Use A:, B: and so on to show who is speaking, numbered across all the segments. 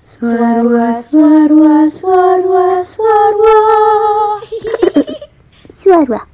A: Suarwa, suarwa, suarwa, suarwa.
B: Suara.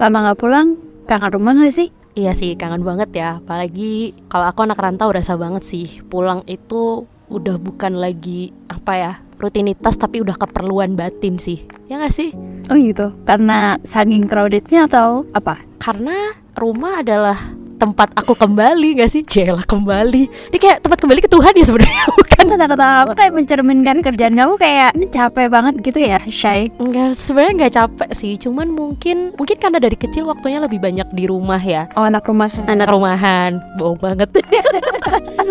C: Lama nggak pulang, kangen rumah nggak sih?
D: Iya sih, kangen banget ya. Apalagi kalau aku anak rantau rasa banget sih. Pulang itu udah bukan lagi apa ya rutinitas tapi udah keperluan batin sih. Ya nggak sih?
C: Oh gitu, karena saking crowdednya atau apa?
D: Karena rumah adalah tempat aku kembali nggak sih? Jela kembali. Ini kayak tempat kembali ke Tuhan ya sebenarnya bukan?
C: Kata-kata Kan aku kayak mencerminkan kerjaan kamu kayak ini capek banget gitu ya, Shay?
D: Enggak, sebenarnya nggak capek sih. Cuman mungkin mungkin karena dari kecil waktunya lebih banyak di rumah ya.
C: Oh anak rumah
D: anak rumahan bohong banget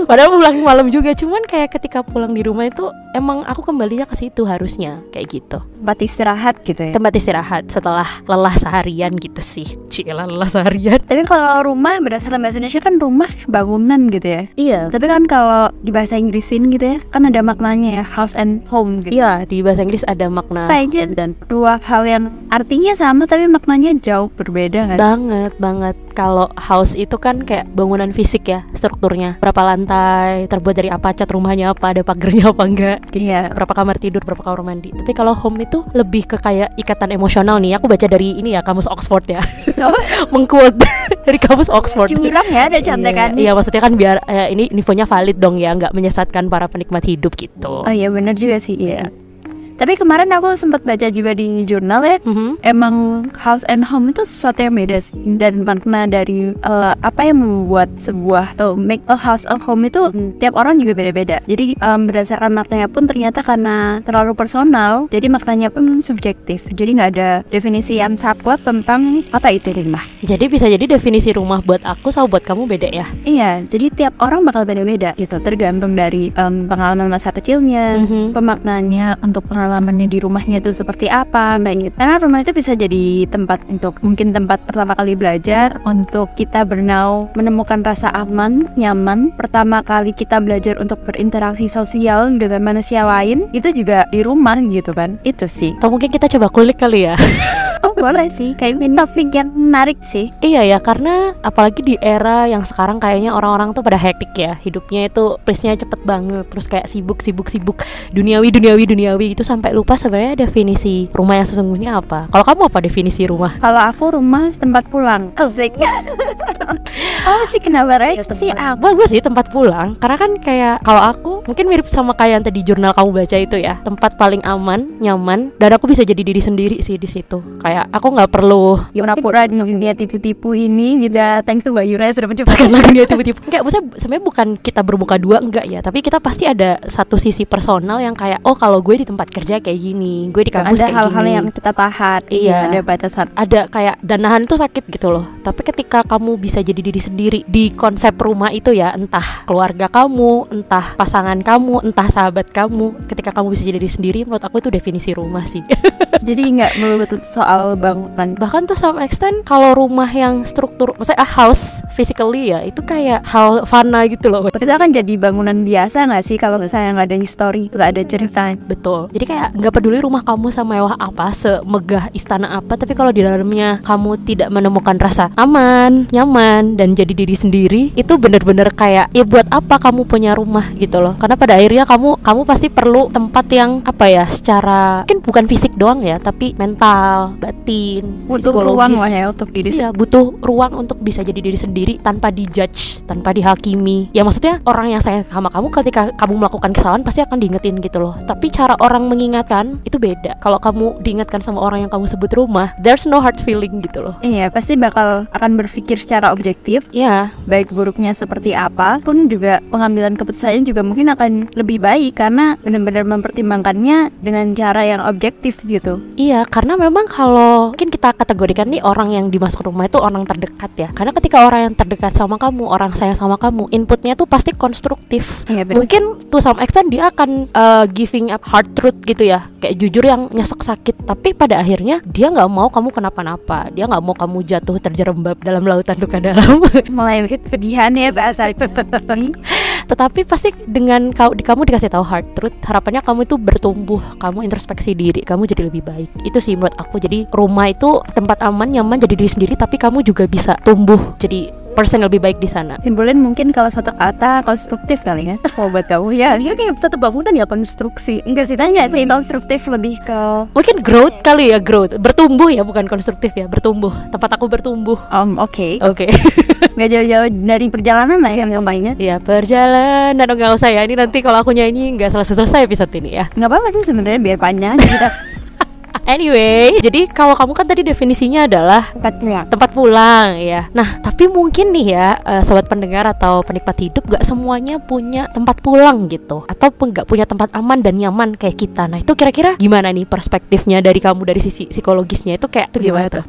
D: padahal pulang malam juga cuman kayak ketika pulang di rumah itu emang aku kembalinya ke situ harusnya kayak gitu
C: tempat istirahat gitu ya.
D: tempat istirahat setelah lelah seharian gitu sih cila lelah seharian
C: Tapi kalau rumah berdasarkan bahasa Indonesia kan rumah bangunan gitu ya.
D: iya
C: Tapi kan kalau di bahasa Inggrisin gitu ya, kan ada maknanya ya house and home gitu.
D: iya di bahasa Inggris ada makna
C: Apa aja dan dua hal yang artinya sama tapi maknanya jauh berbeda kan.
D: banget banget kalau house itu kan kayak bangunan fisik ya strukturnya berapa lantai terbuat dari apa cat rumahnya apa ada pagernya apa enggak
C: Iya.
D: berapa kamar tidur, berapa kamar mandi. Tapi kalau home itu lebih ke kayak ikatan emosional nih. Aku baca dari ini ya kamus Oxford ya.
C: Oh.
D: Mengquote dari kamus Oxford.
C: Curang ya ada
D: Iya,
C: contekan.
D: iya, maksudnya kan biar eh, ini infonya valid dong ya, nggak menyesatkan para penikmat hidup gitu.
C: Oh iya benar juga sih. Iya. Tapi kemarin aku sempat baca juga di jurnal ya.
D: Mhm.
C: Emang house and home itu sesuatu yang beda sih. dan makna dari eh, apa yang membuat sebuah eh, make a house a home itu mm, tiap orang juga beda-beda. Jadi em, berdasarkan maknanya pun ternyata karena terlalu personal, jadi maknanya pun subjektif. Jadi nggak ada definisi yang saklek tentang apa itu rumah.
D: Jadi bisa jadi definisi rumah buat aku sama buat kamu beda ya.
C: Iya, jadi tiap orang bakal beda-beda gitu, tergantung dari em, pengalaman masa kecilnya,
D: Mhm.
C: pemaknanya untuk pengalamannya di rumahnya itu seperti apa, kayak gitu. Karena rumah itu bisa jadi tempat untuk mungkin tempat pertama kali belajar, untuk kita bernau menemukan rasa aman, nyaman. Pertama kali kita belajar untuk berinteraksi sosial dengan manusia lain, itu juga di rumah gitu kan. Itu sih.
D: Atau mungkin kita coba kulik kali ya.
C: Oh boleh sih, kayak ini topik yang menarik sih.
D: Iya ya, karena apalagi di era yang sekarang kayaknya orang-orang tuh pada hektik ya Hidupnya itu pace-nya cepet banget Terus kayak sibuk, sibuk, sibuk Duniawi, duniawi, duniawi gitu Sampai lupa sebenarnya definisi rumah yang sesungguhnya apa Kalau kamu apa definisi rumah?
C: Kalau aku rumah tempat pulang. Asik. oh sih kenapa Rek? Sih aku.
D: Bagus sih tempat pulang Karena kan kayak kalau aku mungkin mirip sama kayak yang tadi jurnal kamu baca itu ya Tempat paling aman, nyaman Dan aku bisa jadi diri sendiri sih di situ Kayak aku nggak perlu
C: Ya pura-pura di dunia tipu-tipu ini gitu. ya. Thanks to Bayu Rek sudah
D: bukan
C: menciptakan.
D: lagu dia tiba-tiba enggak Iya. maksudnya sebenarnya bukan kita berbuka dua enggak ya tapi kita pasti ada satu sisi personal yang kayak oh kalau gue di tempat kerja kayak gini gue di kampus
C: Ada
D: kayak
C: hal-hal
D: gini
C: yang kita tahan.
D: Iya.
C: Ada batasan.
D: ada kayak danahan tuh sakit gitu loh tapi ketika kamu bisa jadi diri sendiri di konsep rumah itu ya entah keluarga kamu entah pasangan kamu entah sahabat kamu ketika kamu bisa jadi diri sendiri menurut aku itu definisi rumah sih
C: Jadi nggak melulu soal bangunan.
D: bahkan tuh sama extent kalau rumah yang struktur maksudnya a house physically ya itu kayak hal fana gitu loh
C: Tapi itu akan jadi bangunan biasa nggak sih kalau misalnya nggak ada story, nggak ada cerita.
D: Betul. Jadi kayak nggak peduli rumah kamu semewah apa, semegah istana apa, tapi kalau di dalamnya kamu tidak menemukan rasa aman, nyaman, dan jadi diri sendiri, itu bener-bener kayak ya buat apa kamu punya rumah gitu loh. Karena pada akhirnya kamu kamu pasti perlu tempat yang apa ya, secara mungkin bukan fisik doang ya, tapi mental, batin,
C: Butuh
D: psikologis.
C: ruang lah ya untuk diri
D: Iya, butuh ruang untuk bisa jadi diri sendiri tanpa dijudge, tanpa dihakimi. Ya maksudnya orang yang sayang sama kamu ketika kamu melakukan kesalahan pasti akan diingetin gitu loh. Tapi cara orang mengingatkan itu beda. Kalau kamu diingatkan sama orang yang kamu sebut rumah, there's no hard feeling gitu loh.
C: Iya, pasti bakal akan berpikir secara objektif
D: Iya.
C: baik buruknya seperti apa pun juga pengambilan keputusannya juga mungkin akan lebih baik karena benar-benar mempertimbangkannya dengan cara yang objektif gitu.
D: Iya, karena memang kalau mungkin kita kategorikan nih orang yang dimasuk rumah itu orang terdekat ya. Karena ketika orang yang terdekat sama kamu, orang sayang sama kamu, inputnya tuh pasti konstruktif.
C: Iya
D: mungkin to some extent dia akan uh, giving up hard truth gitu ya kayak jujur yang nyesek sakit tapi pada akhirnya dia nggak mau kamu kenapa-napa dia nggak mau kamu jatuh terjerembab dalam lautan duka dalam
C: Mulai kedihan ya bahasa
D: tetapi pasti dengan kau di kamu dikasih tahu hard truth harapannya kamu itu bertumbuh kamu introspeksi diri kamu jadi lebih baik itu sih menurut aku jadi rumah itu tempat aman nyaman jadi diri sendiri tapi kamu juga bisa tumbuh jadi person yang lebih baik di sana
C: Simpulin mungkin kalau satu kata konstruktif kali ya Kalau buat kamu ya Ini kayak tetap bangunan ya konstruksi Enggak sih tanya sih konstruktif lebih ke
D: mungkin growth kali ya growth bertumbuh ya bukan konstruktif ya bertumbuh tempat aku bertumbuh
C: Um, oke,
D: oke
C: nggak jauh-jauh dari perjalanan lah yang gampangnya
D: ya perjalanan oh, nggak usah ya ini nanti kalau aku nyanyi nggak selesai selesai episode ini ya
C: nggak apa-apa sih sebenarnya biar panjang aja kita
D: anyway jadi kalau kamu kan tadi definisinya adalah
C: angkat ya.
D: tempat pulang ya. Nah, tapi mungkin nih ya eh, sobat pendengar atau penikmat hidup gak semuanya punya tempat pulang gitu atau pun nggak punya tempat aman dan nyaman kayak kita. Nah, itu kira-kira gimana nih perspektifnya dari kamu dari sisi psikologisnya itu kayak itu gimana
C: Gimana
D: tuh?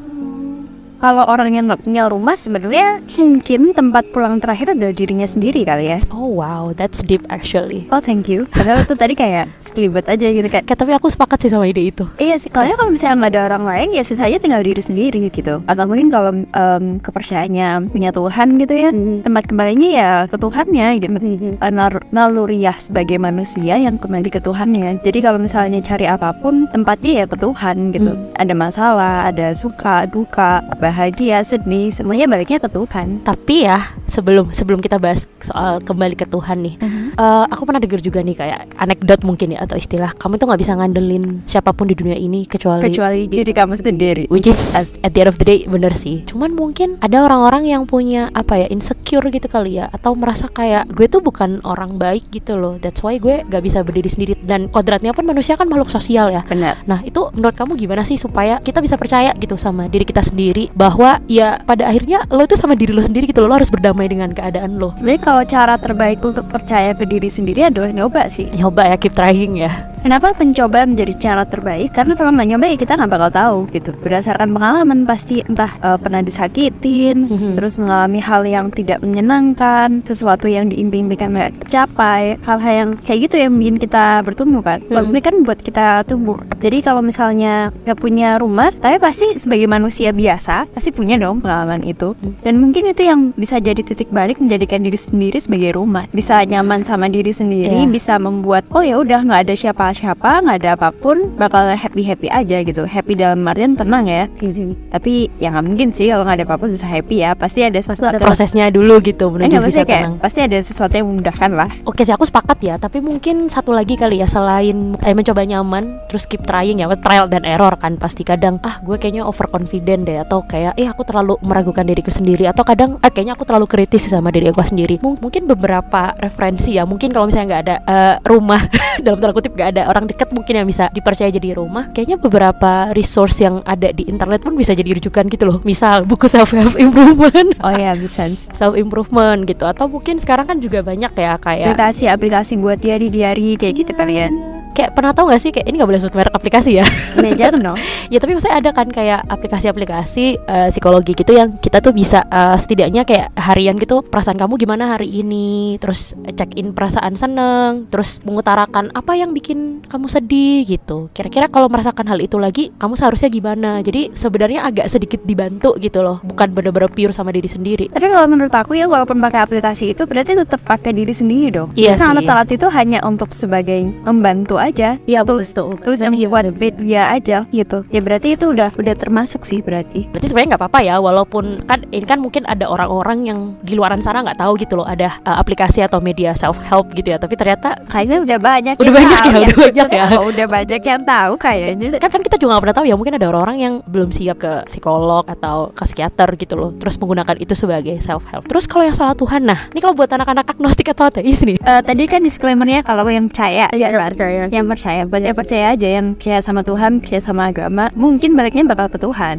C: Kalau orang yang nggak punya rumah sebenarnya mungkin tempat pulang terakhir adalah dirinya sendiri kali ya.
D: Oh wow, that's deep actually.
C: Oh thank you. Padahal itu tadi kayak sekelibat aja gitu kayak.
D: Kayak tapi aku sepakat sih sama ide itu.
C: Iya sih, soalnya kalau misalnya nggak ada orang lain ya sisanya tinggal diri sendiri gitu Atau mungkin kalau em, kepercayaannya punya Tuhan gitu ya Tempat kembalinya ya ke Tuhannya gitu Eh, nar- Naluriah sebagai manusia yang kembali ke Tuhannya Jadi kalau misalnya cari apapun tempatnya ya ke Tuhan gitu Ada masalah, ada suka, duka, bahagia, sedih Semuanya baliknya ke Tuhan
D: Tapi ya sebelum sebelum kita bahas soal kembali ke Tuhan nih, eh, aku pernah denger juga nih kayak anekdot mungkin ya atau istilah kamu tuh nggak bisa ngandelin siapapun di dunia ini kecuali
C: Kecuali diri kamu sendiri
D: Which is as- at the end of the day bener sih Cuman mungkin ada orang-orang yang punya apa ya insecure gitu kali ya Atau merasa kayak gue tuh bukan orang baik gitu loh That's why gue gak bisa berdiri sendiri Dan kodratnya pun manusia kan makhluk sosial ya
C: Benar
D: Nah itu menurut kamu gimana sih supaya kita bisa percaya gitu sama diri kita sendiri Bahwa ya pada akhirnya lo itu sama diri lo sendiri gitu loh Lo harus berdamai dengan keadaan lo
C: Sebenarnya kalau cara terbaik untuk percaya ke diri sendiri adalah nyoba sih
D: Nyoba ya keep trying ya
C: Kenapa pencobaan menjadi cara terbaik? Karena kalau nggak nyoba ya kita nggak bakal tahu gitu. Berdasarkan pengalaman pasti entah eh, pernah disakitin,
D: Mhm.
C: terus mengalami hal yang tidak menyenangkan, sesuatu yang diimpikan nggak tercapai, hal-hal yang kayak gitu yang bikin kita bertumbuh kan. Kalau
D: Mhm.
C: ini kan buat kita tumbuh. Jadi kalau misalnya nggak punya rumah, tapi pasti sebagai manusia biasa pasti punya dong pengalaman itu. Dan mungkin itu yang bisa jadi titik balik menjadikan diri sendiri sebagai rumah. Bisa nyaman sama diri sendiri,
D: Iya.
C: bisa membuat oh ya udah nggak ada siapa-siapa nggak ada apapun bakal happy happy aja gitu happy dalam artian tenang ya tapi ya nggak mungkin sih kalau nggak ada apapun bisa happy ya pasti ada sesuatu
D: Prosesnya dulu gitu
C: Eh,
D: menuju
C: nggak,
D: bisa
C: maksudnya kayak
D: tenang
C: pasti ada sesuatu yang memudahkan lah
D: Oke sih aku sepakat ya, tapi mungkin satu lagi kali ya selain eh, mencoba nyaman, terus keep trying ya, trial dan error kan pasti kadang ah gue kayaknya overconfident deh atau kayak eh aku terlalu meragukan diriku sendiri atau kadang ah, kayaknya aku terlalu kritis sama diri aku sendiri. Mung- mungkin beberapa referensi ya, mungkin kalau misalnya nggak ada eh, rumah dalam tanda kutip nggak ada orang dekat mungkin yang bisa dipercaya jadi rumah, kayaknya beberapa resource yang ada di internet pun bisa jadi rujukan gitu loh. Misal buku self help improvement,
C: oh ya bisa bisa.
D: self improvement gitu atau mungkin sekarang kan juga banyak ya kayak
C: aplikasi aplikasi buat diary diary kayak gitu kalian
D: kayak pernah tau gak sih kayak ini nggak boleh sebut merek aplikasi ya
C: belajar no
D: ya tapi maksudnya ada kan kayak aplikasi-aplikasi eh, psikologi gitu yang kita tuh bisa eh, setidaknya kayak harian gitu perasaan kamu gimana hari ini terus check in perasaan seneng terus mengutarakan apa yang bikin kamu sedih gitu kira-kira kalau merasakan hal itu lagi kamu seharusnya gimana jadi sebenarnya agak sedikit dibantu gitu loh bukan bener-bener pure sama diri sendiri
C: Tapi kalau menurut aku ya walaupun pakai aplikasi itu berarti tetap pakai diri sendiri dong.
D: Iya
C: Karena
D: sih. Iya,
C: alat-alat itu hanya untuk sebagai membantu aja. Ya terus tuh terus yang buat dia aja gitu. Ya berarti itu udah udah termasuk sih berarti.
D: berarti sebenarnya nggak apa-apa ya walaupun kan ini kan mungkin ada orang-orang yang di luaran sana nggak tahu gitu loh ada uh, aplikasi atau media self help gitu ya tapi ternyata
C: Kayaknya udah banyak.
D: Udah
C: yang
D: banyak
C: tahu
D: ya, udah banyak ya.
C: Oh, udah banyak yang tahu kayaknya.
D: kan kan kita juga nggak pernah tahu ya mungkin ada orang-orang yang belum siap ke psikolog atau ke psikiater gitu loh terus menggunakan itu sebagai self help terus kalau yang salah Tuhan nah ini kalau buat anak-anak agnostik atau ateis nih
C: Eh, tadi kan disclaimernya kalau yang percaya, yang
D: Iya,
C: percaya, yang percaya, yang percaya aja, yang percaya sama Tuhan, percaya sama agama, mungkin baliknya bakal ke Tuhan.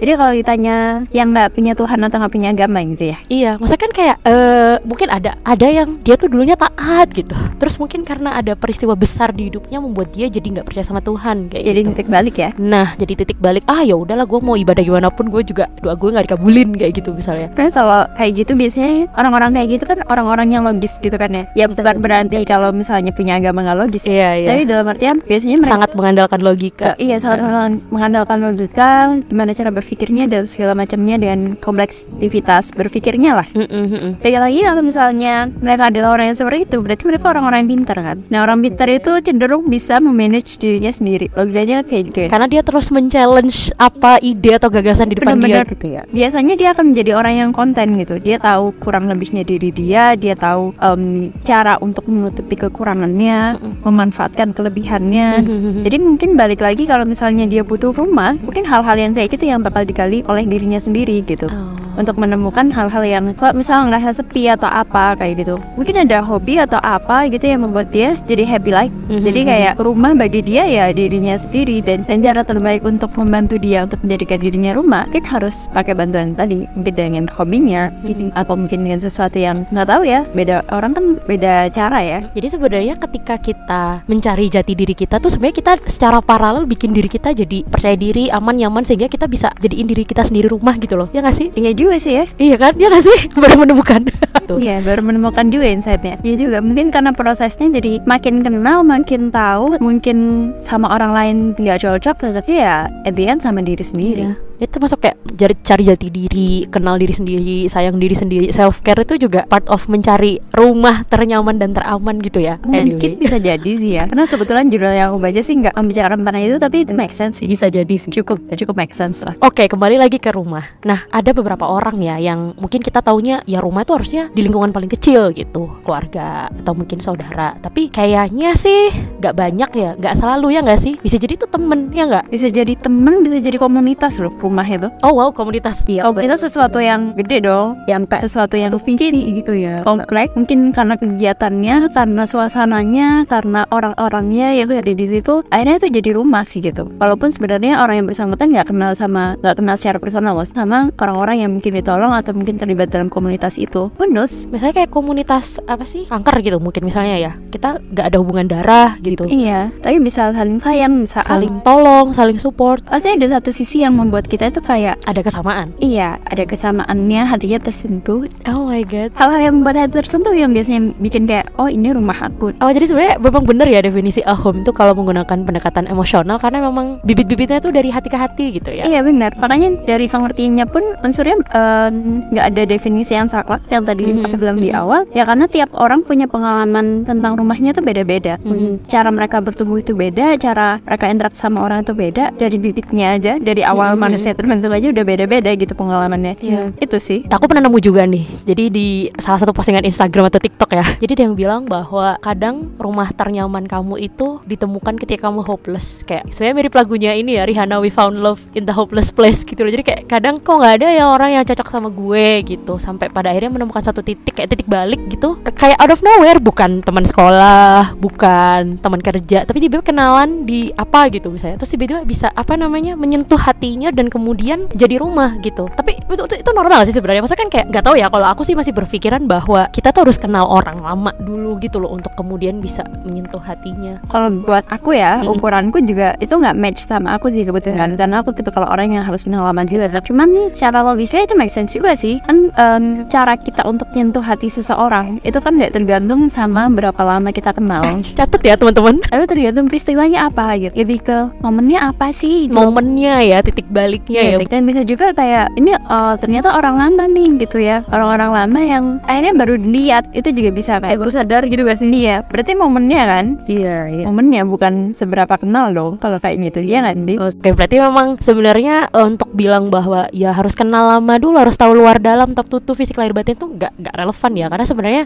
C: Jadi kalau ditanya yang nggak punya Tuhan atau nggak punya agama gitu ya,
D: Iya, maksudnya kan kayak eh, mungkin ada ada yang dia tuh dulunya taat gitu. Terus mungkin karena ada peristiwa besar di hidupnya membuat dia jadi nggak percaya sama Tuhan kayak
C: jadi
D: gitu.
C: titik balik ya.
D: Nah, jadi titik balik ah ya udahlah gue mau ibadah gimana pun gue juga doa gue nggak dikabulin kayak gitu misalnya.
C: Karena kalau kayak gitu biasanya orang-orang kayak gitu kan orang-orang yang logis gitu kan ya. Ya bukan berarti kalau misalnya punya agama nggak logis. ya.
D: Iya iya. ya.
C: Tapi dalam artian biasanya mereka
D: sangat mengandalkan logika.
C: Eh, iya, sangat mengandalkan- mengandalkan logika, gimana cara berpikirnya dan segala macamnya dengan kompleksitas berpikirnya lah.
D: Mm-mm, mm-mm.
C: Bagi lagi kalau misalnya mereka adalah orang yang seperti itu, berarti mereka orang-orang yang pintar kan. Nah orang pintar itu cenderung bisa memanage dirinya sendiri. Logikanya kayak gitu ya.
D: Karena dia terus men-challenge apa ide atau gagasan di depan
C: Bener-bener
D: dia.
C: gitu ya. Biasanya dia akan menjadi orang yang konten gitu. Dia tahu kurang lebihnya diri dia, dia tahu em, cara untuk menutupi kekurangannya, memanfaatkan kelebihannya.
D: Mhm.
C: Jadi mungkin balik lagi kalau misalnya dia butuh rumah, mungkin hal-hal yang kayak gitu yang bakal digali oleh dirinya sendiri gitu.
D: Oh.
C: Untuk menemukan hal-hal yang kalau misalnya ngerasa sepi atau apa kayak gitu. Mungkin ada hobi atau apa gitu yang membuat dia jadi happy life.
D: Mhm.
C: Jadi kayak rumah bagi dia ya dirinya sendiri dan, dan cara terbaik untuk membantu dia untuk menjadikan dirinya rumah mungkin harus pakai bantuan tadi mungkin dengan hobinya
D: Mhm.
C: atau mungkin dengan sesuatu yang nggak tahu ya beda orang kan beda cara ya
D: Jadi sebenarnya ketika kita mencari jati diri kita tuh sebenarnya kita secara paralel bikin diri kita jadi percaya diri, aman, nyaman sehingga kita bisa jadiin diri kita sendiri rumah gitu loh. Ya nggak sih?
C: Iya juga sih ya
D: Iya kan? Ya nggak sih? Baru menemukan. Tuh.
C: Iya baru menemukan juga insightnya Iya juga mungkin karena prosesnya jadi makin kenal makin tahu Mungkin sama orang lain nggak cocok Cocoknya ya at the end sama diri sendiri
D: Iya. Itu termasuk kayak cari, cari jati diri, kenal diri sendiri, sayang diri sendiri. Self care itu juga part of mencari rumah ternyaman dan teraman gitu ya.
C: Mungkin
D: Anyway.
C: bisa jadi sih ya Karena kebetulan judul yang aku baca sih nggak membicarakan tentang itu Tapi it make sense sih Bisa jadi sih. Cukup, cukup make sense lah
D: Oke, kembali lagi ke rumah. Nah, ada beberapa orang ya yang mungkin kita taunya ya rumah itu harusnya di lingkungan paling kecil gitu, keluarga atau mungkin saudara. Tapi kayaknya sih nggak banyak ya, nggak selalu ya nggak sih. Bisa jadi itu temen ya nggak?
C: Bisa jadi temen, bisa jadi komunitas loh rumah itu
D: Oh wow, komunitas.
C: Iya, komunitas sesuatu yang gede dong Yang kayak sesuatu yang mungkin gitu ya Komplek, mungkin karena kegiatannya, karena suasananya, karena orang-orangnya yang ada di situ Akhirnya itu jadi rumah sih gitu Walaupun sebenarnya orang yang bersangkutan nggak kenal sama nggak kenal secara personal loh Sama orang-orang yang mungkin ditolong atau mungkin terlibat dalam komunitas itu Who knows?
D: Misalnya kayak komunitas apa sih? Kanker gitu mungkin misalnya ya. Kita nggak ada hubungan darah gitu.
C: Iya, tapi bisa saling sayang, bisa saling.
D: Saling tolong, saling support,
C: Pasti ada satu sisi yang membuat kita itu kayak
D: ada kesamaan.
C: iya ada kesamaannya, hatinya tersentuh.
D: Oh my god.
C: Hal-hal yang membuat hati tersentuh yang biasanya bikin kayak oh ini rumah aku.
D: Oh jadi sebenarnya memang bener ya definisi a home itu kalau menggunakan pendekatan emosional karena memang bibit-bibitnya tuh dari hati ke hati gitu ya.
C: Iya benar. Makanya dari pengertiannya pun unsurnya em, nggak ada definisi yang saklek yang tadi
D: Mhm,
C: aku bilang di
D: mhm.
C: awal. Ya karena tiap orang punya pengalaman tentang rumahnya tuh beda-beda. Mm-hmm.
D: Mhm.
C: Cara mereka bertumbuh itu beda, cara mereka interaksi sama orang itu beda. Dari bibitnya aja, dari awal
D: Mhm, mhm.
C: manusia terbentuk aja udah beda-beda gitu pengalamannya.
D: Iya.
C: Itu sih.
D: Aku pernah nemu juga nih. Jadi di salah satu postingan Instagram atau TikTok ya. Jadi ada yang bilang bahwa kadang rumah ternyaman kamu itu ditemukan ketika kamu hopeless. Kayak sebenarnya mirip lagunya ini ya Rihanna We Found Love in the Hopeless Place gitu loh. Jadi kayak kadang kok nggak ada ya orang yang cocok sama gue gitu. Sampai pada akhirnya menemukan satu titik kayak titik balik gitu. Kayak out of nowhere bukan teman sekolah, bukan teman kerja, tapi tiba-tiba kenalan di apa gitu misalnya. Terus tiba-tiba bisa apa namanya menyentuh hatinya dan kemudian jadi rumah gitu. Tapi itu, itu, itu normal sih sebenarnya. Maksudnya kan kayak nggak tahu ya kalau aku sih masih berpikiran bahwa kita tuh harus kenal orang lama dulu gitu loh untuk kemudian bisa menyentuh hatinya.
C: kalau buat aku ya
D: Mm-mm.
C: ukuranku juga itu nggak match sama aku sih kebetulan karena aku tipe kalau orang yang harus pengalaman juga sih. cuman cara logisnya itu make sense juga sih kan em, cara kita untuk nyentuh hati seseorang itu kan nggak tergantung sama berapa lama kita kenal
D: Catat ya teman-teman.
C: tapi tergantung peristiwanya apa gitu lebih ke momennya apa sih gitu.
D: Momennya ya, titik baliknya ya.
C: dan bisa juga kayak ini eh, ternyata orang lama nih gitu ya orang-orang lama yang akhirnya baru dilihat itu juga bisa kayak baru sadar gitu gak sih iya berarti momennya kan iya momennya bukan seberapa kenal loh kalau kayak gitu ya kan Di?
D: Oke, berarti memang sebenarnya eh, untuk bilang bahwa ya harus kenal lama dulu, harus tahu luar dalam, top tutu, fisik lahir batin itu nggak nggak relevan ya, karena sebenarnya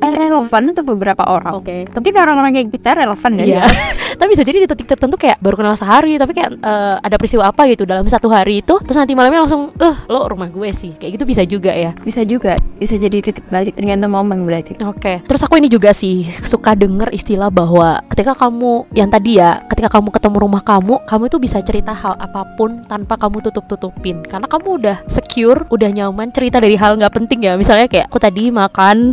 C: Eh, relevan untuk beberapa orang
D: Oke.
C: tapi orang-orang kayak kita relevan ya
D: Iya. tapi bisa jadi di titik tertentu kayak baru kenal sehari, tapi kayak eh, ada peristiwa apa gitu dalam satu hari itu, terus nanti malamnya langsung, eh lo rumah gue sih, kayak gitu bisa juga ya.
C: bisa juga bisa jadi titik balik tergantung momen berarti
D: Oke. Terus aku ini juga sih suka denger istilah bahwa ketika kamu yang tadi ya, ketika kamu ketemu rumah kamu, kamu itu bisa cerita hal apapun tanpa kamu tutup-tutupin. Karena kamu udah secure, udah nyaman cerita dari hal nggak penting ya. Misalnya kayak aku tadi makan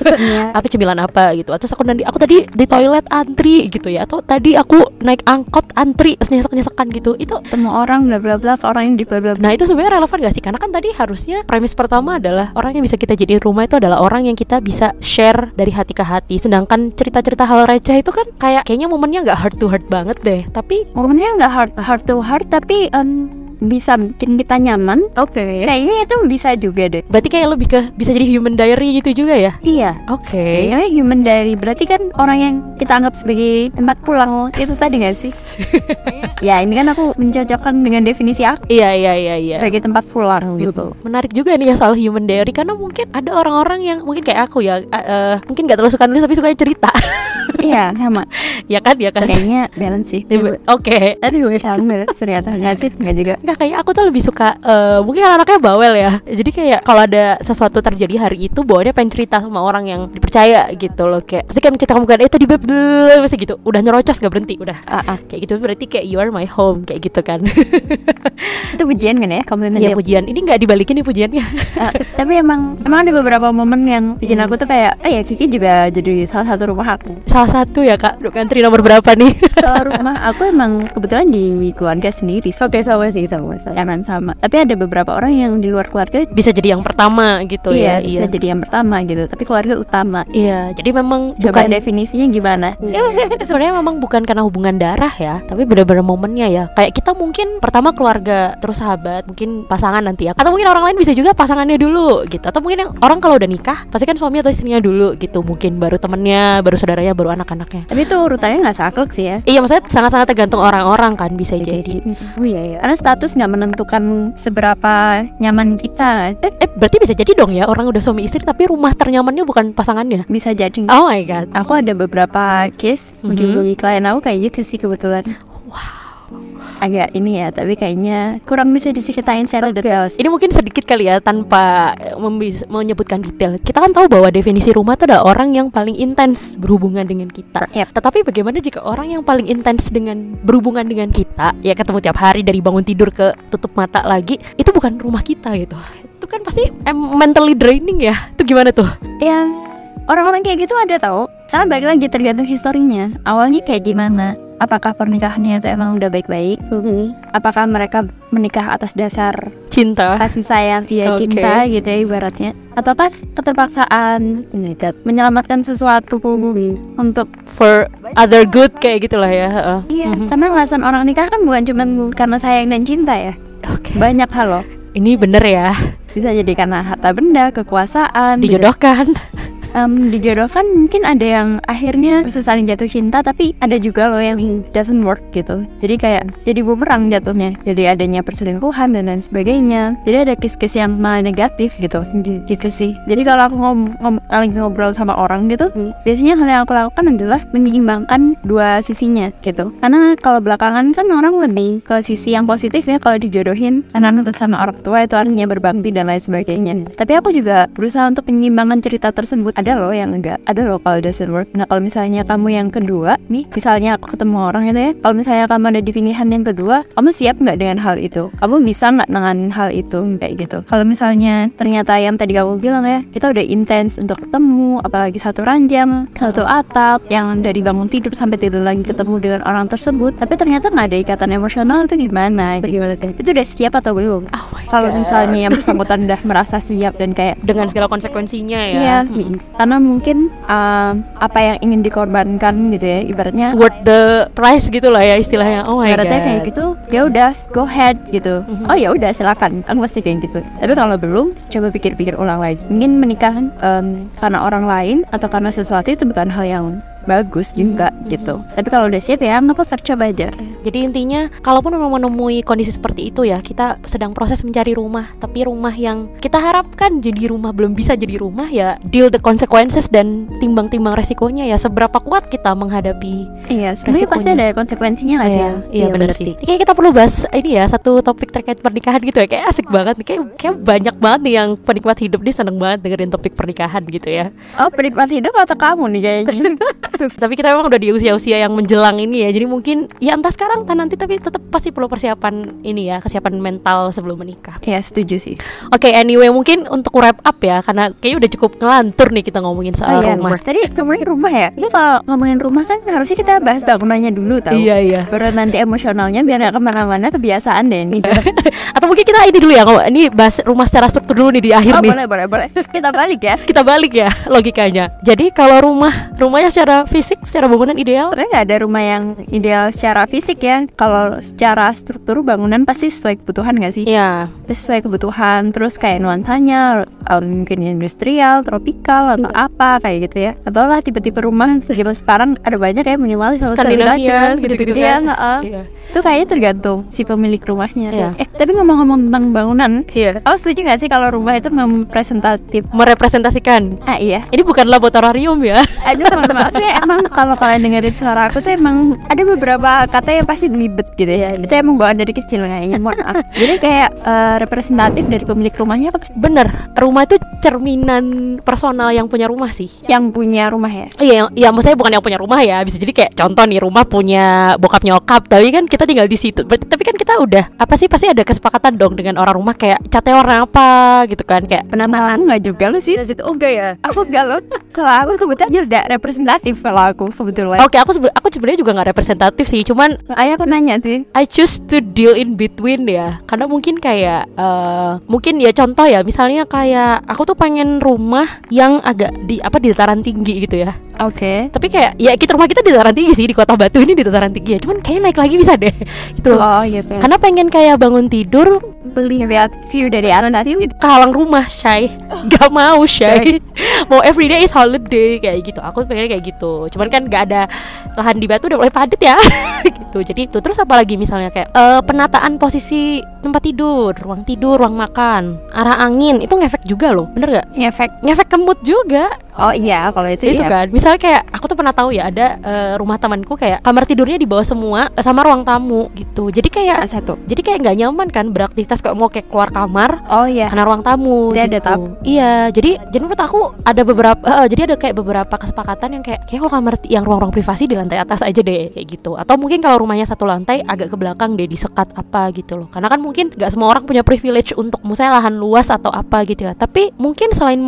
C: Makannya
D: apa cemilan apa gitu atau aku nanti aku tadi di toilet antri gitu ya atau tadi aku naik angkot antri nyesek nyesekan gitu itu
C: ketemu orang bla bla bla ke orang yang di bla bla bla
D: nah itu sebenarnya relevan gak sih karena kan tadi harusnya premis pertama adalah orang yang bisa kita jadiin rumah itu adalah orang yang kita bisa share dari hati ke hati sedangkan cerita-cerita hal receh itu kan kayak kayaknya momennya nggak heart to heart banget deh tapi
C: momennya nggak hard hard to hard tapi em, bisa bikin kita nyaman oke kayaknya itu bisa juga deh
D: berarti kayak lebih ke bisa jadi human diary gitu juga ya
C: iya
D: oke
C: Kayaknya human dari berarti kan orang yang kita anggap sebagai tempat pulang itu tadi nggak sih? ya ini kan aku mencocokkan dengan definisi aku
D: iya iya iya iya
C: sebagai tempat pulang gitu.
D: menarik juga nih ya soal human diary karena mungkin ada orang-orang yang mungkin kayak aku ya eh, eh, mungkin nggak terlalu suka nulis tapi suka cerita
C: Iya sama.
D: ya kan ya kan
C: Kayaknya balance sih.
D: Tiba- oke
C: Tadi gue bilang balance ternyata nggak sih nggak juga.
D: Nggak kayak aku tuh lebih suka eh, mungkin anaknya bawel ya jadi kayak kalau ada sesuatu terjadi hari itu bawaannya pengen cerita sama orang yang dipercaya gitu loh kayak pasti kayak menceritakan bukan eh tadi beb dulu," pasti gitu udah nyerocos gak berhenti udah
C: Ah, ah.
D: kayak gitu berarti kayak you are my home kayak gitu kan
C: Itu pujian kan ya komplimen
D: ya
C: dia.
D: pujian ini nggak dibalikin nih pujiannya
C: Ah, tapi emang emang ada beberapa momen yang bikin aku tuh kayak oh ya Kiki juga jadi salah satu rumah aku.
D: salah satu ya kak duduk antri nomor berapa nih
C: Kalau rumah aku emang kebetulan di keluarga sendiri. Oke sama sih sama sama. Emang sama. Tapi ada beberapa orang yang di luar keluarga
D: bisa jadi yang pertama gitu
C: iya,
D: ya
C: bisa jadi yang pertama gitu, tapi keluarga utama.
D: Iya, jadi memang
C: Coba
D: bukan Iya,
C: definisinya gimana?
D: sebenarnya memang bukan karena hubungan darah ya, tapi benar-benar momennya ya. Kayak kita mungkin pertama keluarga, terus sahabat, mungkin pasangan nanti ya. Atau mungkin orang lain bisa juga pasangannya dulu gitu. Atau mungkin yang orang kalau udah nikah, pasti kan suami atau istrinya dulu gitu. Mungkin baru temennya, baru saudaranya, baru anak-anaknya.
C: Tapi itu urutannya nggak saklek sih ya.
D: Iya, maksudnya sangat-sangat tergantung orang-orang kan bisa jadi.
C: Oh iya, iya. Karena status nggak menentukan seberapa nyaman kita. Eh,
D: Eh, berarti bisa jadi dong ya orang udah suami istri tapi rumah ternyamannya bukan pasangannya.
C: bisa jadi.
D: Oh my god.
C: Aku ada beberapa case
D: Mhm.
C: menghubungi klien aku kayak gitu sih kebetulan. Wow. Agak ini ya, tapi kayaknya kurang bisa diceritain secara detail sih.
D: Ini mungkin sedikit kali ya tanpa eh, membis- menyebutkan detail. Kita kan tahu bahwa definisi rumah itu adalah orang yang paling intens berhubungan dengan kita.
C: Yap.
D: Tetapi bagaimana jika orang yang paling intens dengan berhubungan dengan kita, ya ketemu tiap hari dari bangun tidur ke tutup mata lagi, itu bukan rumah kita gitu. Itu kan pasti em, mentally draining ya. Itu gimana tuh?
C: Ya, orang-orang kayak gitu ada tau. Karena balik lagi tergantung historinya. Awalnya kayak gimana? Apakah pernikahannya itu emang udah baik-baik? Apakah mereka menikah atas dasar
D: Cinta.
C: kasih sayang dia
D: Oke.
C: cinta gitu ya ibaratnya? Ataukah keterpaksaan menyelamatkan sesuatu untuk
D: For other good kayak gitulah ya. heeh.
C: Iya,
D: Mhm.
C: karena alasan orang nikah kan bukan cuma karena sayang dan cinta ya.
D: Oke.
C: Banyak hal loh.
D: Ini bener ya.
C: Bisa jadi karena harta benda, kekuasaan, bisa-
D: Dijodohkan.
C: Em, dijodohkan mungkin ada yang akhirnya saling jatuh cinta tapi ada juga loh yang doesn't work gitu jadi kayak jadi bumerang jatuhnya jadi adanya perselingkuhan dan lain sebagainya jadi ada kes-kes yang malah negatif gitu gitu sih jadi kalau aku ngom ngom- lagi ngobrol sama orang gitu biasanya hal yang aku lakukan adalah menyeimbangkan dua sisinya gitu karena kalau belakangan kan orang lebih ke sisi yang positif ya kalau dijodohin anak anak sama orang tua itu artinya berbakti dan lain sebagainya tapi aku juga berusaha untuk menyeimbangkan cerita tersebut ada loh yang enggak ada loh kalau doesn't work nah kalau misalnya kamu yang kedua nih misalnya aku ketemu orang itu ya kalau misalnya kamu ada di pilihan yang kedua kamu siap nggak dengan hal itu kamu bisa nggak nanganin hal itu kayak gitu kalau misalnya ternyata yang tadi kamu bilang ya kita udah intens untuk ketemu apalagi satu ranjang satu atap yang dari bangun tidur sampai tidur lagi ketemu dengan orang tersebut tapi ternyata nggak ada ikatan emosional itu gimana Gimana deh? itu udah siap atau belum
D: Oh my
C: kalau
D: God.
C: misalnya yang bersangkutan udah merasa siap dan kayak
D: dengan segala konsekuensinya ya.
C: Iya,
D: Mm.
C: karena mungkin um, apa yang ingin dikorbankan gitu ya, ibaratnya
D: worth the price gitu lah ya istilahnya. Oh my
C: ibaratnya
D: god. Hmm.
C: kayak gitu, ya udah go ahead gitu. Oh ya udah silakan, aku pasti kayak gitu. Tapi kalau belum, coba pikir-pikir ulang lagi. Mungkin menikah um, karena orang lain atau karena sesuatu itu bukan hal yang bagus juga
D: Hmm.
C: gitu. Tapi kalau udah siap ya nggak apa-apa coba aja.
D: Jadi intinya kalaupun memang menemui kondisi seperti itu ya, kita sedang proses mencari rumah, tapi rumah yang kita harapkan jadi rumah belum bisa jadi rumah ya, deal the consequences dan timbang-timbang resikonya ya seberapa kuat kita menghadapi
C: Iya, sebenarnya pasti
D: resikonya.
C: ada konsekuensinya nggak sih?
D: Iya, iya benar sih. Ini Kayak kita perlu bahas ini ya satu topik terkait pernikahan gitu ya. Kayak asik banget nih. Kayak, kayak banyak banget nih yang penikmat hidup nih seneng banget dengerin topik pernikahan gitu ya.
C: Oh, penikmat hidup atau kamu nih kayaknya?
D: tapi kita memang udah di usia-usia yang menjelang ini ya jadi mungkin ya entah sekarang entah nanti tapi tetap pasti perlu persiapan ini ya kesiapan mental sebelum menikah
C: ya setuju sih
D: oke anyway mungkin untuk wrap up ya karena kayaknya udah cukup ngelantur nih kita ngomongin soal
C: iya,
D: rumah
C: tadi ngomongin rumah ya ini kalau ngomongin rumah kan harusnya kita bahas bangunannya dulu tau
D: iya iya
C: baru nanti emosionalnya biar gak kemana-mana kebiasaan deh ini
D: Iya, atau mungkin kita ini dulu ya kalau ini bahas rumah secara struktur dulu nih di akhir
C: oh
D: nih
C: boleh boleh boleh kita balik ya
D: kita balik ya logikanya jadi kalau rumah rumahnya secara fisik secara bangunan ideal
C: Sebenarnya nggak ada rumah yang ideal secara fisik ya. Kalau secara struktur bangunan pasti sesuai kebutuhan nggak sih?
D: Iya
C: Pasti Sesuai kebutuhan. Terus kayak nuansanya um, mungkin industrial, tropikal atau
D: Hmm.
C: apa kayak gitu ya. Atau lah tipe-tipe rumah segala sekarang ada banyak ya minimalis atau
D: Skandinavian,
C: Dutchers,
D: gitu-gitu
C: ya,
D: kan.
C: heeh.
D: iya
C: Itu kayaknya tergantung si pemilik rumahnya.
D: Iya.
C: Eh tapi ngomong-ngomong tentang bangunan, kamu setuju nggak sih kalau rumah itu mempresentatif?
D: merepresentasikan
C: Ah iya.
D: ini bukan laboratorium ya
C: Aduh teman-teman Maksudnya emang kalau kalian dengerin suara aku tuh emang Ada beberapa kata yang pasti belibet gitu ya Itu emang bawaan dari kecil kayaknya Mohon maaf Jadi kayak eh, representatif dari pemilik rumahnya apa sih?
D: bener rumah itu cerminan personal yang punya rumah sih
C: Yang punya rumah ya
D: Iya, yang- ya maksudnya bukan yang punya rumah ya. Bisa jadi kayak contoh nih rumah punya bokap nyokap, tapi kan kita tinggal di situ. Ber- tapi kan kita udah apa sih pasti ada kesepakatan dong dengan orang rumah kayak catnya warna apa gitu kan kayak
C: Penamaan nggak juga lu sih Terus itu oh enggak ya Aku enggak loh Kalau aku kebetulan ya udah representatif Kalau aku kebetulan
D: Oke, aku sebe- aku sebenarnya juga nggak representatif sih, cuman
C: Ayah aku nanya sih
D: I choose to deal in between ya Karena mungkin kayak eh, Mungkin ya contoh ya Misalnya kayak Aku tuh pengen rumah Yang agak di apa di dataran tinggi gitu ya
C: Oke
D: Tapi kayak Ya kita rumah kita di dataran tinggi sih Di kota Batu ini di dataran tinggi ya Cuman kayak naik lagi bisa deh Gitu loh
C: Oh gitu ya
D: Karena pengen kayak bangun tidur
C: Beli lihat view dari atas nanti
D: Kalang rumah Shay Gak mau Shay Mau everyday is holiday Kayak gitu Aku pengen kayak gitu Cuman kan gak ada Lahan di batu udah mulai padat ya Gitu Jadi itu Terus apalagi misalnya kayak eh, Penataan posisi tempat tidur Ruang tidur Ruang makan Arah angin Itu ngefek juga loh Bener gak?
C: Ngefek
D: Ngefek ke mood juga
C: Oh iya kalau itu,
D: Itu
C: iya.
D: kan Misalnya kayak Aku tuh pernah tahu ya Ada eh, rumah temanku kayak Kamar tidurnya di bawah semua eh, Sama ruang tamu gitu Jadi kayak
C: Satu
D: jadi kayak nggak nyaman kan beraktivitas kalau mau kayak keluar kamar
C: Oh iya
D: karena ruang tamu
C: Dia ada
D: gitu. iya jadi jadi menurut aku ada beberapa eh, jadi ada kayak beberapa kesepakatan yang kayak kayak kalau kamar ti- yang ruang-ruang privasi di lantai atas aja deh kayak gitu atau mungkin kalau rumahnya satu lantai agak ke belakang deh disekat apa gitu loh karena kan mungkin nggak semua orang punya privilege untuk misalnya lahan luas atau apa gitu ya tapi mungkin selain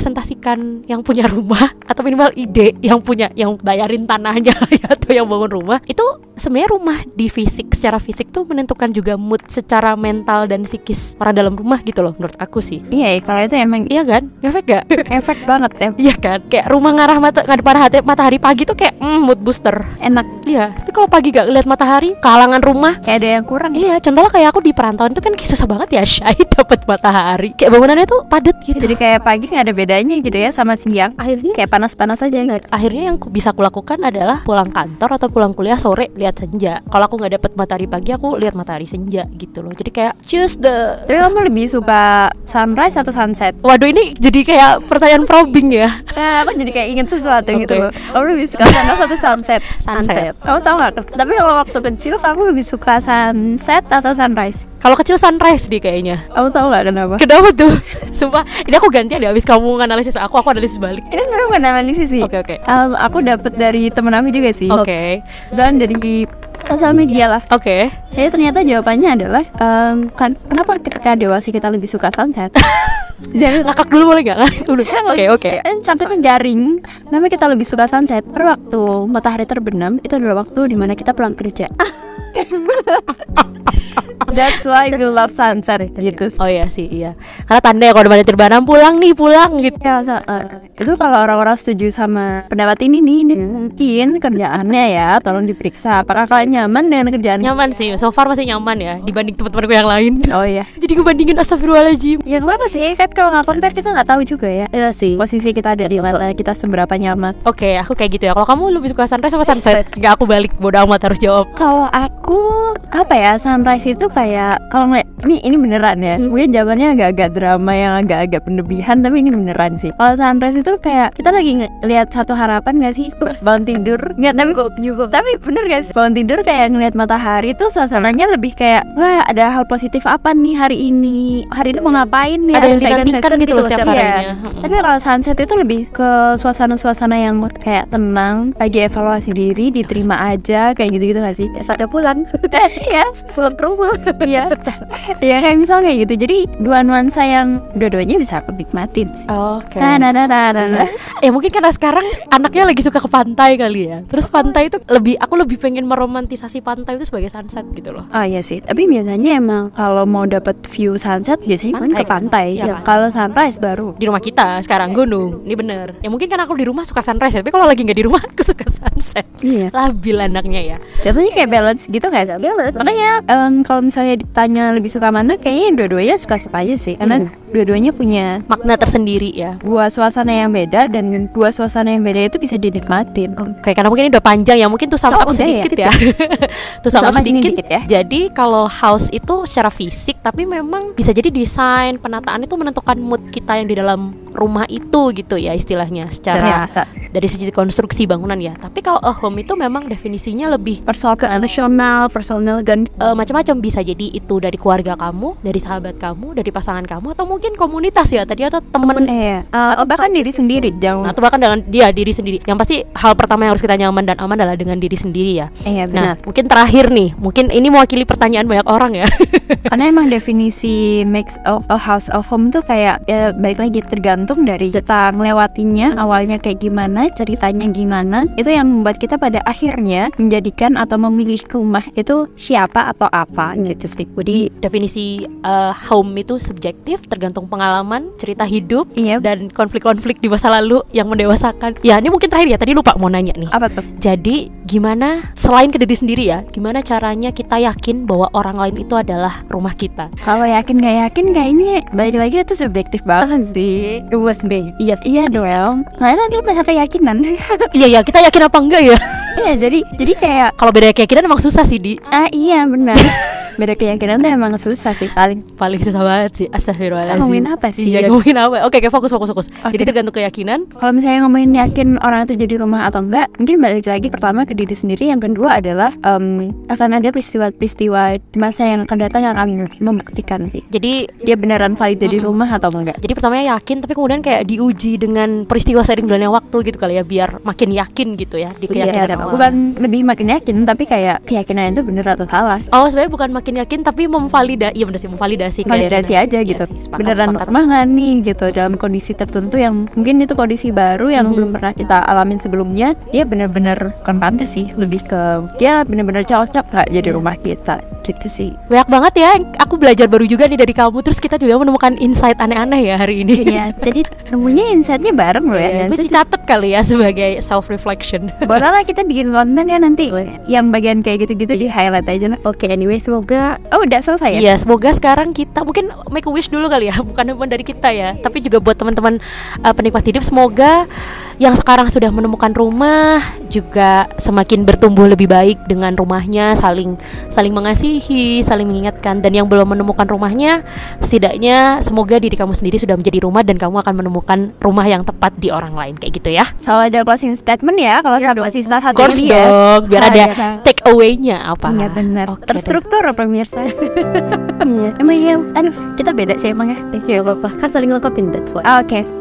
D: merepresentasikan yang punya rumah atau minimal ide yang punya yang bayarin tanahnya lah ya, atau yang bangun rumah itu sebenarnya rumah di fisik secara fisik tuh menentukan juga mood secara mental dan psikis orang dalam rumah gitu loh menurut aku sih
C: Iya kalau itu emang
D: Iya kan? Ngefek gak?
C: efek banget ya
D: iya kan? Kayak rumah ngarah mata ngadep arah hati- matahari pagi tuh kayak mm, mood booster.
C: enak
D: Iya. Tapi kalau pagi gak ngeliat matahari, kalangan rumah.
C: kayak ada yang kurang ya
D: Iya, contohnya kayak aku di perantauan itu kan kayak susah banget ya Syai dapat matahari. Kayak bangunannya tuh padat gitu.
C: jadi kayak pagi nggak ada bedanya gitu ya sama siang
D: akhirnya
C: kayak panas-panas aja nggak
D: akhirnya yang ku- bisa kulakukan adalah pulang kantor atau pulang kuliah sore lihat senja. Kalau aku nggak dapat matahari pagi, aku lihat matahari senja gitu loh. Jadi kayak choose the
C: tapi kamu lebih suka sunrise atau sunset?
D: Waduh ini jadi kayak pertanyaan probing ya.
C: Nah, aku jadi kayak inget sesuatu gitu
D: Oke.
C: loh. Kamu lebih suka sunrise atau sunset?
D: Sunset.
C: Kamu tau gak? Tapi kalau waktu kecil kamu lebih suka sunset atau sunrise?
D: Kalau kecil sunrise deh kayaknya.
C: Kamu tau gak kenapa?
D: Kenapa tuh? Sumpah, ini aku gantian ya abis kamu analisis aku, aku analisis balik.
C: Ini sebenarnya bukan analisis sih.
D: Oke, oke.
C: Em, aku dapat dari temen aku juga sih.
D: Oke.
C: Dan dari sosial media lah.
D: Oke.
C: Jadi ternyata jawabannya adalah em, kan kenapa ketika dewasa kita lebih suka sunset? Dari
D: Ngakak dulu boleh nggak? Ngakak dulu. Oke, oke.
C: Dan Sampai pun garing. Namanya kita lebih suka sunset. Karena waktu matahari terbenam itu adalah waktu dimana kita pulang kerja. That's why we love sunset gitu.
D: Oh iya sih, iya. Karena tanda ya kalau udah matahari terbenam pulang nih, pulang gitu.
C: Ya, so- eh, itu kalau orang-orang setuju sama pendapat ini nih, ini mungkin kerjaannya ya, tolong diperiksa apakah kalian nyaman dengan kerjaan?
D: Nyaman sih, so far masih nyaman ya dibanding teman-temanku yang lain.
C: Oh iya.
D: Jadi gue bandingin astagfirullahaladzim
C: Ya gue sih, kan kalau nggak compare kita nggak tahu juga ya. Iya sih. Posisi kita ada di level kita seberapa nyaman.
D: Oke, aku kayak gitu ya. Kalau kamu lebih suka sunrise sama sunset? Enggak, aku balik. Bodoh amat harus jawab.
C: Kalau aku apa ya sunrise itu kayak kalau ngeliat ini ini beneran ya
D: Hmm.
C: mungkin jawabannya agak-agak drama yang agak-agak pendebihan tapi ini beneran sih kalau sunrise itu kayak kita lagi ngeliat satu harapan gak sih Terus bangun tidur nggak tapi tapi bener guys bangun tidur kayak ngeliat matahari tuh suasananya lebih kayak wah ada hal positif apa nih hari ini hari ini mau ngapain ya
D: ada yang
C: Dragon
D: dinantikan
C: Fest
D: gitu loh setiap
C: iya.
D: harinya.
C: Tapi kalau sunset itu lebih ke suasana-suasana yang kayak tenang, lagi evaluasi diri, diterima aja, kayak gitu-gitu gak sih? Ya, sudah pulang, ya, pulang ke rumah, ya, ya kayak misal kayak gitu. Jadi dua nuansa yang dua-duanya bisa aku nikmatin sih.
D: Oke.
C: Nah, nah, nah, nah, nah, nah.
D: Ya mungkin karena sekarang anaknya lagi suka ke pantai kali ya. Terus pantai itu lebih aku lebih pengen meromantisasi pantai itu sebagai sunset gitu loh.
C: Oh iya sih, tapi biasanya emang kalau mau dapat view sunset biasanya kan ke
D: Pantai.
C: pantai.
D: Iya,
C: Ya,
D: pantai.
C: kalau sunrise baru.
D: Di rumah kita sekarang gunung. Ini bener. Ya mungkin karena aku di rumah suka sunrise, ya, tapi kalau lagi nggak di rumah aku suka sunset.
C: Iya.
D: Labil anaknya ya.
C: Jatuhnya kayak balance gitu gak sih? Balance. Makanya em, kalau misalnya ditanya lebih suka mana, kayaknya dua-duanya suka-suka aja sih. Karena dua-duanya punya
D: Makna tersendiri ya.
C: dua suasana yang beda dan dua suasana yang beda itu bisa dinikmatin.
D: Oke, karena mungkin ini udah panjang ya, mungkin tuh
C: Oh,
D: sama
C: udah ya?
D: sedikit ya. tuh
C: Sama
D: sama
C: sini
D: sedikit.
C: dikit ya.
D: Jadi kalau house itu secara fisik tapi memang bisa jadi desain, penataan itu menentukan mood kita yang di dalam rumah itu gitu ya istilahnya secara
C: Terasa
D: dari segi konstruksi bangunan ya. Tapi kalau a home itu memang definisinya lebih
C: personal emosional, personal dan
D: eh, macam-macam bisa jadi itu dari keluarga kamu, dari sahabat kamu, dari pasangan kamu atau mungkin komunitas ya tadi atau temen
C: eh atau bahkan diri sendiri
D: Nah,
C: jangan
D: atau bahkan dengan dia diri sendiri. Yang pasti hal pertama yang harus kita nyaman dan aman adalah dengan diri sendiri ya.
C: eh
D: Nah,
C: benar.
D: mungkin terakhir nih, mungkin ini mewakili pertanyaan banyak orang ya.
C: Karena emang definisi mix of a house of home tuh kayak ya, balik lagi tergantung dari kita melewatinya awalnya kayak gimana, ceritanya gimana. Itu yang membuat kita pada akhirnya menjadikan atau memilih rumah itu siapa atau apa gitu sih. Jadi
D: Definisi eh, home itu subjektif, tergantung pengalaman, cerita hidup,
C: iya
D: dan konflik-konflik di masa lalu yang mendewasakan. Ya, ini mungkin terakhir ya. Tadi lupa mau nanya nih.
C: apa tuh?
D: Jadi, gimana selain ke diri sendiri ya, gimana caranya kita yakin bahwa orang lain itu adalah rumah kita?
C: Kalau yakin gak yakin kayaknya balik lagi itu subjektif banget sih. It was me. Iya iya dong. Karena nanti udah sampai yakinan.
D: Iya ya, kita yakin apa enggak ya?
C: Iya jadi jadi kayak
D: Kalau beda keyakinan emang susah sih di
C: ah iya benar. Beda keyakinan tuh emang susah sih paling.
D: paling susah banget sih. Astagfirullahaladzim.
C: Kita ngomongin apa sih?
D: Iya,
C: Ya?
D: ngomongin apa? Oke, oke, fokus fokus fokus.
C: Oke.
D: Jadi tergantung keyakinan,
C: Kalau misalnya ngomongin yakin orang itu jadi rumah atau enggak, mungkin balik lagi pertama ke diri sendiri, yang kedua adalah em, akan ada peristiwa-peristiwa di masa yang akan datang yang akan membuktikan sih
D: jadi
C: dia beneran valid jadi rumah atau enggak.
D: Jadi pertamanya yakin tapi kemudian kayak diuji dengan peristiwa sering berjalannya waktu gitu kali ya biar makin yakin gitu ya di
C: Iya,
D: keyakinan
C: dan
D: awal.
C: aku kan lebih makin yakin, tapi kayak keyakinan itu bener atau salah.
D: Oh sebenarnya bukan makin yakin tapi memvalidasi iya benar sih memvalidasi
C: validasi
D: keyakinan.
C: aja
D: Iya
C: gitu
D: sih, sepakat,
C: beneran
D: sepakat.
C: pernah nggak nih gitu dalam kondisi tertentu yang mungkin itu kondisi baru yang
D: Mhm.
C: belum pernah kita alamin sebelumnya dia bener-bener bukan pantas sih lebih ke dia bener-bener cocok nggak jadi
D: Iya.
C: rumah kita gitu sih
D: Banyak banget ya aku belajar baru juga nih dari kamu terus kita juga menemukan insight aneh-aneh ya hari ini.
C: Iya, jadi nemunya insightnya bareng loh ya.
D: Ya, itu
C: Nanti
D: dicatat kali ya sebagai self reflection.
C: boleh lah kita bikin konten ya nanti yang bagian kayak gitu-gitu di highlight aja lah. Oke, anyway semoga oh udah selesai ya.
D: Iya, semoga sekarang kita mungkin make a wish dulu kali ya, bukan cuma dari kita ya,
C: Iya.
D: tapi juga buat teman-teman uh, penikmat hidup semoga yang sekarang sudah menemukan rumah juga semakin bertumbuh lebih baik dengan rumahnya, saling saling mengasihi, saling mengingatkan dan yang belum menemukan rumahnya setidaknya semoga diri kamu sendiri sudah menjadi rumah dan kamu akan menemukan rumah yang tepat di orang lain kayak gitu ya.
C: So ada closing statement ya kalau ada closing statement
D: Iya Of course
C: ini ya.
D: dong, biar
C: Ah,
D: ada
C: iya, Kak.
D: take away-nya apa.
C: Iya benar.
D: Oke,
C: Terstruktur pemirsa. Iya. Hmm. emang ya, aduh kita beda sih emang ya. Iya,
A: Ya, nggak apa-apa. kan saling lengkapin that's why
C: Oke,